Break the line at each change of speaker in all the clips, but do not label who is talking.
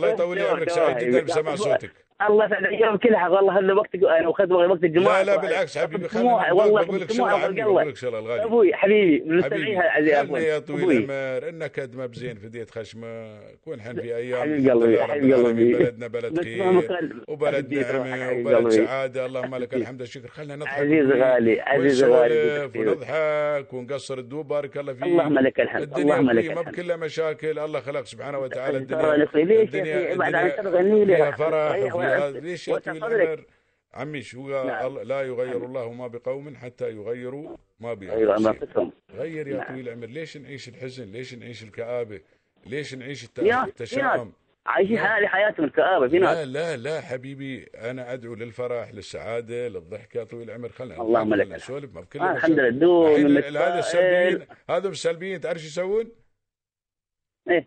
طول عمرك سعيد جدا بسماع صوتك
الله يسعد اليوم كل حق والله هلا وقتك انا اخذت وقت الجمعه
لا لا بالعكس حبيبي خليني
طموح، والله
بقول لك
طموح
شغله عني
والله.
بقول لك شغله الغالي
ابوي حبيبي
حبيبي
مستمعيها العزيز
خلني يا طويل
ابوي
العمر انك قد ما بزين فديت خشمك ونحن في ايام
حبيب
الحمد
قلبي
لله رب
حبيب
العالمين
قلبي
بلدنا بلد
بس
خير
مهما
وبلد نعمه وبلد
قلبي
سعاده اللهم لك الحمد والشكر خلينا نضحك
عزيز
كثير
غالي عزيز غالي
ونسولف
بالتأكيد.
ونضحك ونقصر الدوب بارك الله
اللهم
فيك
لك الحمد
الدنيا
اللهم
اخوي
لك
ما
الحمد
بكلها مشاكل الله خلق سبحانه وتعالى
ترى
الدنيا
لك ليش يا
الدنيا
اخي ابعد عن
الدنيا
الشر غني لي
فيها
رحمة
فرح
صحيح
وفيها
وانت
ليش يا
وسع
طويل
صدرك
العمر عمي شو
نعم
قال؟ لا يغير
حبيبي
الله ما بقوم حتى يغيروا ما
ايوه الله
بانفسهم
يعطيكم
غير يا
نعم
طويل العمر ليش نعيش الحزن ليش نعيش الكآبة ليش نعيش التأ-
في ناس في ناس
التشاؤم
عايشين
لا
حالي حياتهم الكآبة في ناس
لا لا لا حبيبي أنا أدعو للفرح للسعادة للضحكة يا طويل العمر خلينا نضحك
اللهم
خلينا
لك الحمد
نسولف ما في كله
آه الحمد
مشاكل
لله دوم
الحين ال- هذا
متفائل
السلبيين هذول السلبيين تعرف شو يسوون؟
ايه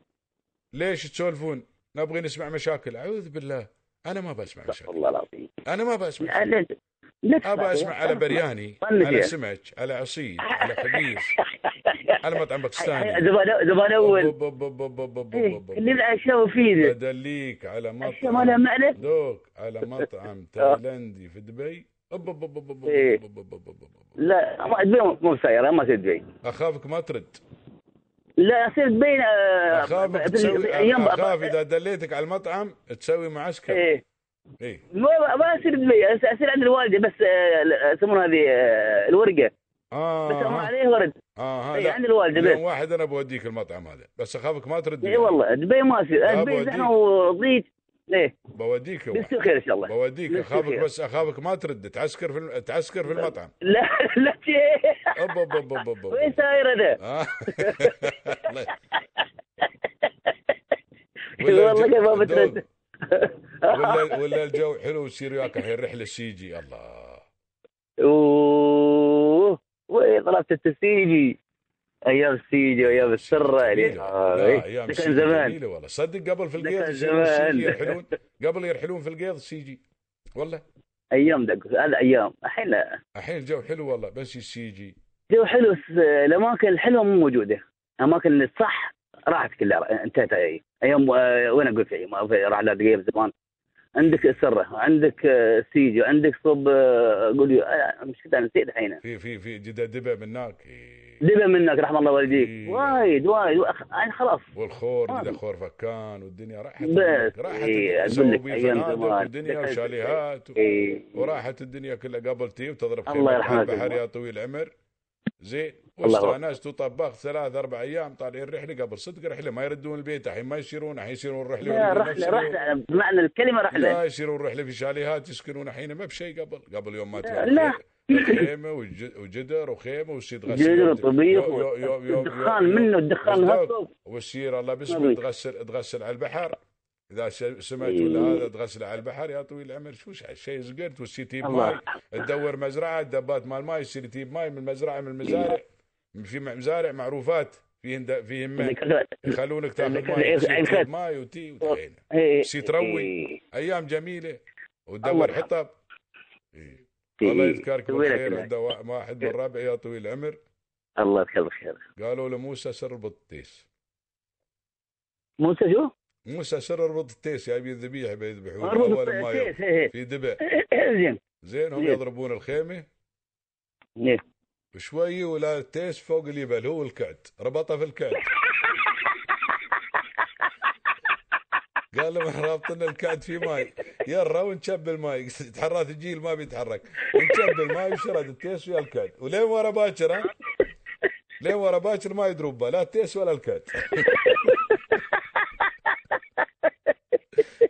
ليش تسولفون؟ نبغي نسمع مشاكل أعوذ بالله أنا ما بسمع
استغفر
مشاكل
الله العظيم
أنا ما بسمع
لا
مشاكل
لا لا
أبى
تسمع
أسمع
يا
على
اسمع
برياني
طنش
على
يا
سمك على عصيد على خبيز على مطعم
هاي- هاي
باكستاني
زمان زمان
أب
اول
أب أب أب أب أب أب
ايه
أب
اللي
أب.
بلا اشياء مفيده
بدليك على
اشياء ما لها
مطعم
معنى
دوك على مطعم
آه،
تايلندي في دبي أب أب أب أب أب أب
ايه
أب أب أب أب أب أب.
لا ما دبي مو مسيرة ما تدبي
اخافك ما ترد
لا يصير دبي آه،
اخافك
في ال-
تسوي
في
أ-
ايام بقى-
اخاف
بقى-
اذا دليتك على المطعم تسوي معسكر
ايه
ايه
ما ما يصير دبي أس- اصير عند الوالده بس آه، ال- يسمونها هذه آه، الورقه بس
اه
هم
ها
عليه ورد
اه ها
اي
لا
عند الوالده
يوم
بس
واحد انا بوديك المطعم هذا بس اخافك ما ترد
اي
يعني
إيه، والله دبي ما يصير آه،
لا
دبي زحمه
بوديك
وضيق ايه
بوديك يوم
نفسي خير ان شاء الله
بوديك
نفسي
اخافك
خير
بس اخافك ما ترد تعسكر في الم... تعسكر في المطعم
لا لا شيء
اب اب اب اب اب اب
وين
اب
ساير انا؟
آه. الله ولا الج...
والله كيف ما
دوق
بترد
ولا ولا الجو حلو يصير وياك الحين رحله سيجي الله
اوه وين طلبت التسيجي ايام السيجي وايام
سيجي
السره اللي
جميلة لا
هاي
أيام
ده كان
السيجي
آه، إيه، زمان
جميلة والله صدق قبل في
ده
القيض
كان
يصيرون السيجي
زمان
يرحلون قبل يرحلون في القيض السيجي والله
ايام ده هذا ايام الحين لا.
الحين الجو حلو والله بس السيجي
جو حلو بس الاماكن الحلوه مو موجوده اماكن الصح راحت كلها انتهت أي. ايام آه، وين اقول في أيام- في رحلات قبل زمان عندك السره عندك آه، السيجي عندك صوب آه، قول لي آه، مش كده أنا نسيت الحين
في في في جدا دبا من هناك إيه.
دبا منك رحم الله والديك
إيه.
وايد وايد وأخ- أنا خلاص
والخور
ما
جدا
في
خور فكان والدنيا راحت
آه. بس
هناك راحت
إيه
الدنيا
اقول لك
زوبي
ايام
فنادق
زمان ده
ودنيا
كان
وشاليهات و...
إيه.
وراحت الدنيا كلها قبل تي وتضرب خيمتك
الله
على
يرحمه
البحر
زمان
يا طويل العمر زين
الله يرحمه
واستانست وطبخت ثلاث اربع ايام طالعين رحله قبل صدق رحله ما يردون البيت الحين ما يصيرون الحين يصيرون رحله
لا
يريدون نفس
رحله
اليوم
رحله بمعنى الكلمه رحله
لا يصيرون رحله في شاليهات يسكنون الحين ما بشيء قبل قبل يوم ما
لا
تروح
لا.
الخي... الخيمه والج- وجدر وخيمه وتصير تغسل
جزر
يوم ت...
الطبيخ
يوم يوم يوم يوم يوم,
والدخان
يوم.
منه
بس
الدخان
دوك
هالصوب
وتصير الله
ما
باسمك
بي
تغسل تغسل على البحر اذا ش- سمك ولا هذا
إيه.
تغسل على البحر يا طويل العمر شو شع- شيء زقرت وتصير تجيب
الله
ماي
يرحمه
تدور مزرعه الدبات مال ماي يصير تجيب ماي من المزرعه من
إيه.
المزارع في م- مزارع معروفات فيهن د- فيهم ماء
ذكرت
يخلونك تاخذ
ذكرت
ماي تصير
عرفت
تجيب ماي وتي
إيه.
وتحينه
إيه.
تصير تروي ايام جميله
الله
وتدور
يرحمه
حطب إيه. الله
إيه.
يذكركم
سوي لك
بالخير
الله
عنده وا- واحد من ربعي يا طويل العمر
الله يذكره بالخير
قالوا له موسى سر البطيس
موسى شو؟
موسى سر ربط التيس يبي الذبيحه بيذبحون
اربط
اول ما يوم
التأسيس إيه.
في دبع
زين
زين هم
زين
يضربون الخيمه
إيه.
شوي ولا التيس فوق اليبل هو الكعد ربطه في الكعد قال لهم احنا رابطين الكعد في ماي يرى ونشب الماي تحرات الجيل ما بيتحرك نشب الماي وشرد التيس ويا الكعد ولين ورا باكر ها لين ورا باكر ما يدرون به لا التيس ولا الكعد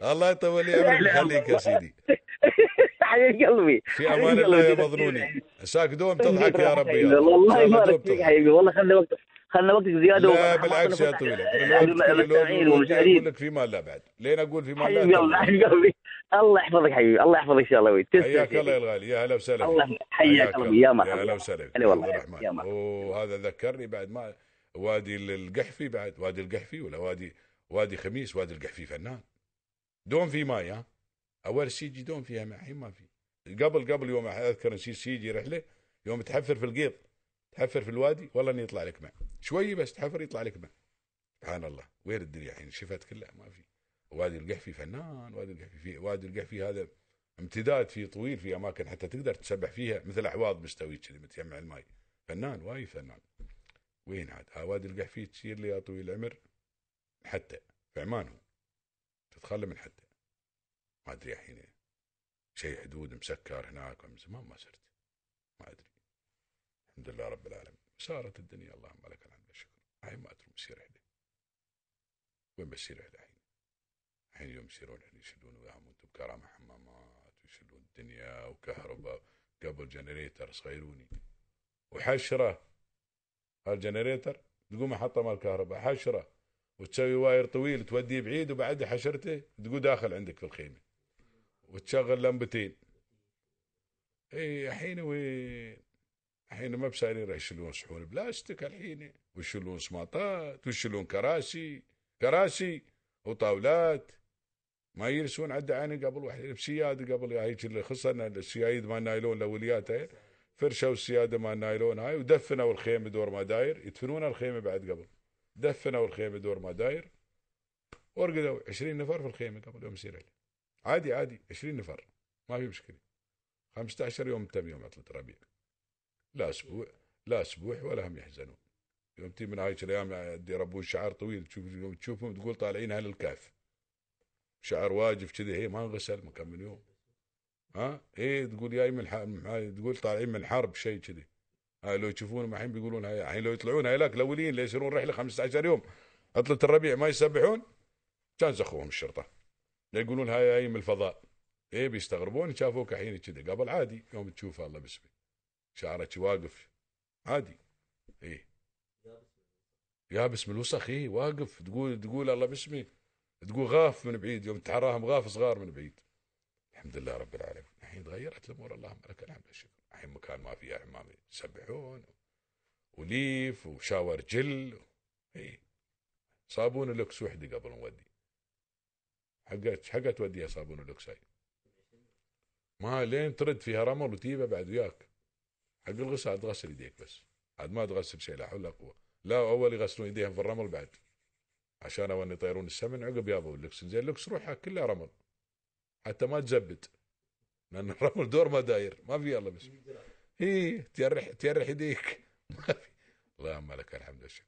الله يطول لي عمرك
لا
ويخليك يا
والله
سيدي
حبيب قلبي
في
حبيب
امان الله
قلبي
يا
جبت لي
مظنوني عساك دوم
جيت
تضحك يا
راحت
ربي
حبيبي
يلا ان شاء الله
والله بارك
دوم
فيك
تضحك
حبيبي والله خلي وقت خلنا وقتك زياده
لا
وخلصنا
بالعكس يا
فرصه
طويل العمر
عند
الوقت كل الوقت يعودني
المستمعين
اقول
والمشاهدين
لك فيما لا بعد لين اقول فيما لا
حبيب قلبي
تبعد
حبيب قلبي الله يحفظك حبيبي الله يحفظك ان شاء الله تسلم
حياك الله يا
سيدي
الغالي يا هلا وسهلا فيك
الله حياك
حياك
قلبي
الله
يا
يا
مرحبا يا
هلا
مرحبا
وسهلا
هلا
فيك يا عبد
والله
الرحمن
يا مرحبا
وهذا ذكرني بعد ما وادي القحفي بعد وادي القحفي ولا وادي وادي خميس وادي القحفي فنان دوم في ماي ها اول سيجي دوم فيها ما الحين ما في قبل قبل يوم اذكر نسيت سيجي رحله يوم تحفر في القيط تحفر في الوادي والله اني يطلع لك ماء شوي بس تحفر يطلع لك ماء سبحان الله وين الدنيا الحين شفت كلها ما في وادي القحفي فنان وادي القحفي في وادي القحفي هذا امتداد فيه طويل في اماكن حتى تقدر تسبح فيها مثل احواض مستوي كذي متجمع الماي فنان وايد فنان وين عاد ها وادي القحفي تشير لي يا طويل العمر حتى في عمان هو تتخلى من حتى ما ادري الحين شيء حدود مسكر هناك من زمان ما صرت ما ادري الحمد لله رب العالمين سارت الدنيا اللهم لك الحمد والشكر الحين ما ادري مسير حدا وين بسير حدا الحين الحين يوم يسيرون الحين يشيلون وياهم انتم كرامه حمامات ويشيلون الدنيا وكهرباء قبل جنريتر صغيروني وحشره هالجنريتر تقوم حطه مال الكهرباء حشره وتسوي واير طويل توديه بعيد وبعد حشرته تقول داخل عندك في الخيمه وتشغل لمبتين اي الحين وين الحين ما بصايرين يشيلون صحون بلاستيك الحين ويشيلون سماطات ويشيلون كراسي كراسي وطاولات ما يرسون عد عيني قبل واحد بسياده قبل هيك اللي خصنا السيايد مال نايلون الاوليات هاي فرشوا السياده مال نايلون هاي ودفنوا الخيمه دور ما داير يدفنون الخيمه بعد قبل دفنوا الخيمه دور ما داير ورقدوا 20 نفر في الخيمه قبل يوم يصير عليه. عادي عادي 20 نفر ما في مشكله 15 يوم تم يوم عطله الربيع لا اسبوع لا اسبوع ولا هم يحزنون يوم تي من هايك الايام يربون شعر طويل تشوف يوم تشوفهم تقول طالعين اهل الكهف شعر واجف كذي هي ما انغسل من كم من يوم ها اي تقول جاي من ح- من ح- تقول طالعين من حرب شيء كذي ها لو يشوفونهم الحين بيقولون هاي الحين لو يطلعون هايلاك الاولين اللي يسيرون رحله 15 يوم عطله الربيع ما يسبحون كان زخوهم الشرطه لا يقولون هاي هاي من الفضاء ايه بيستغربون شافوك الحين كذا قبل عادي يوم تشوفه الله باسمه شعرك واقف عادي ايه يابس من الوسخ ايه واقف تقول تقول الله باسمي تقول غاف من بعيد يوم تحراهم غاف صغار من بعيد الحمد لله رب العالمين الحين تغيرت الامور اللهم لك الحمد والشكر الحين مكان ما فيه حمام يسبحون وليف وشاور جل ايه صابون لوكس وحدي قبل نودي حقت حقت توديها صابون اللوكساي ما لين ترد فيها رمل وتجيبه بعد وياك حق الغسل تغسل يديك بس عاد ما تغسل شيء لا حول ولا قوه لا اول يغسلون يديهم في الرمل بعد عشان اول يطيرون السمن عقب يابوا اللوكس زين اللوكس روحها كلها رمل حتى ما تزبد لان الرمل دور ما داير ما في يلا بس اي تيرح تيرح يديك ما في اللهم لك الحمد والشكر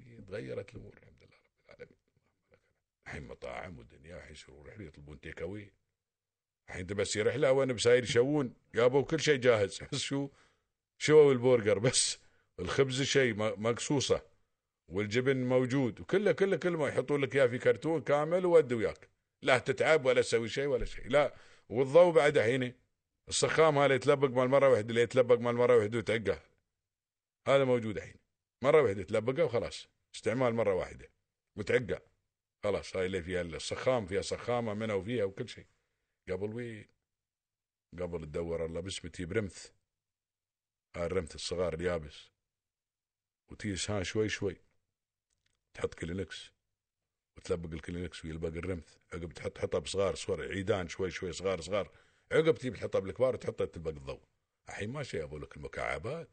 إيه، تغيرت الامور الحمد لله رب العالمين الحين مطاعم ودنيا الحين يصيروا رحله يطلبون تيك اوي الحين انت بس رحله وين بساير يشوون جابوا كل شيء جاهز بس شو شووا البرجر بس الخبز شيء م- مقصوصه والجبن موجود وكله كله كله ما يحطون لك اياه في كرتون كامل وودوا وياك لا تتعب ولا تسوي شيء ولا شيء لا والضوء بعد الحين السخام هذا يتلبق مال مره واحده اللي يتلبق مال مره واحده وتعقه هذا موجود الحين مره واحده تلبقه وخلاص استعمال مره واحده وتعقه خلاص هاي اللي فيها السخام فيها سخامه منها وفيها وكل شيء قبل وين قبل تدور الله باسمه تجيب رمث هاي الرمث الصغار اليابس وتيس ها شوي شوي تحط كلينكس وتلبق الكلينكس ويلبق الرمث عقب تحط حطب صغار صغار عيدان شوي شوي صغار صغار عقب تجيب الحطب الكبار وتحطه تلبق الضوء الحين ما شي يابوا لك المكعبات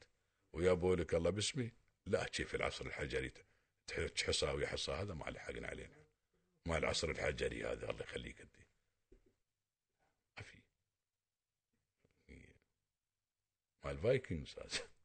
ويابوا لك الله باسمي لا شي في العصر الحجري تحس حصى ويا حصى هذا ما لحقنا علينا ما العصر الحجري هذا الله يخليك انت ما في ما الفايكنجز هذا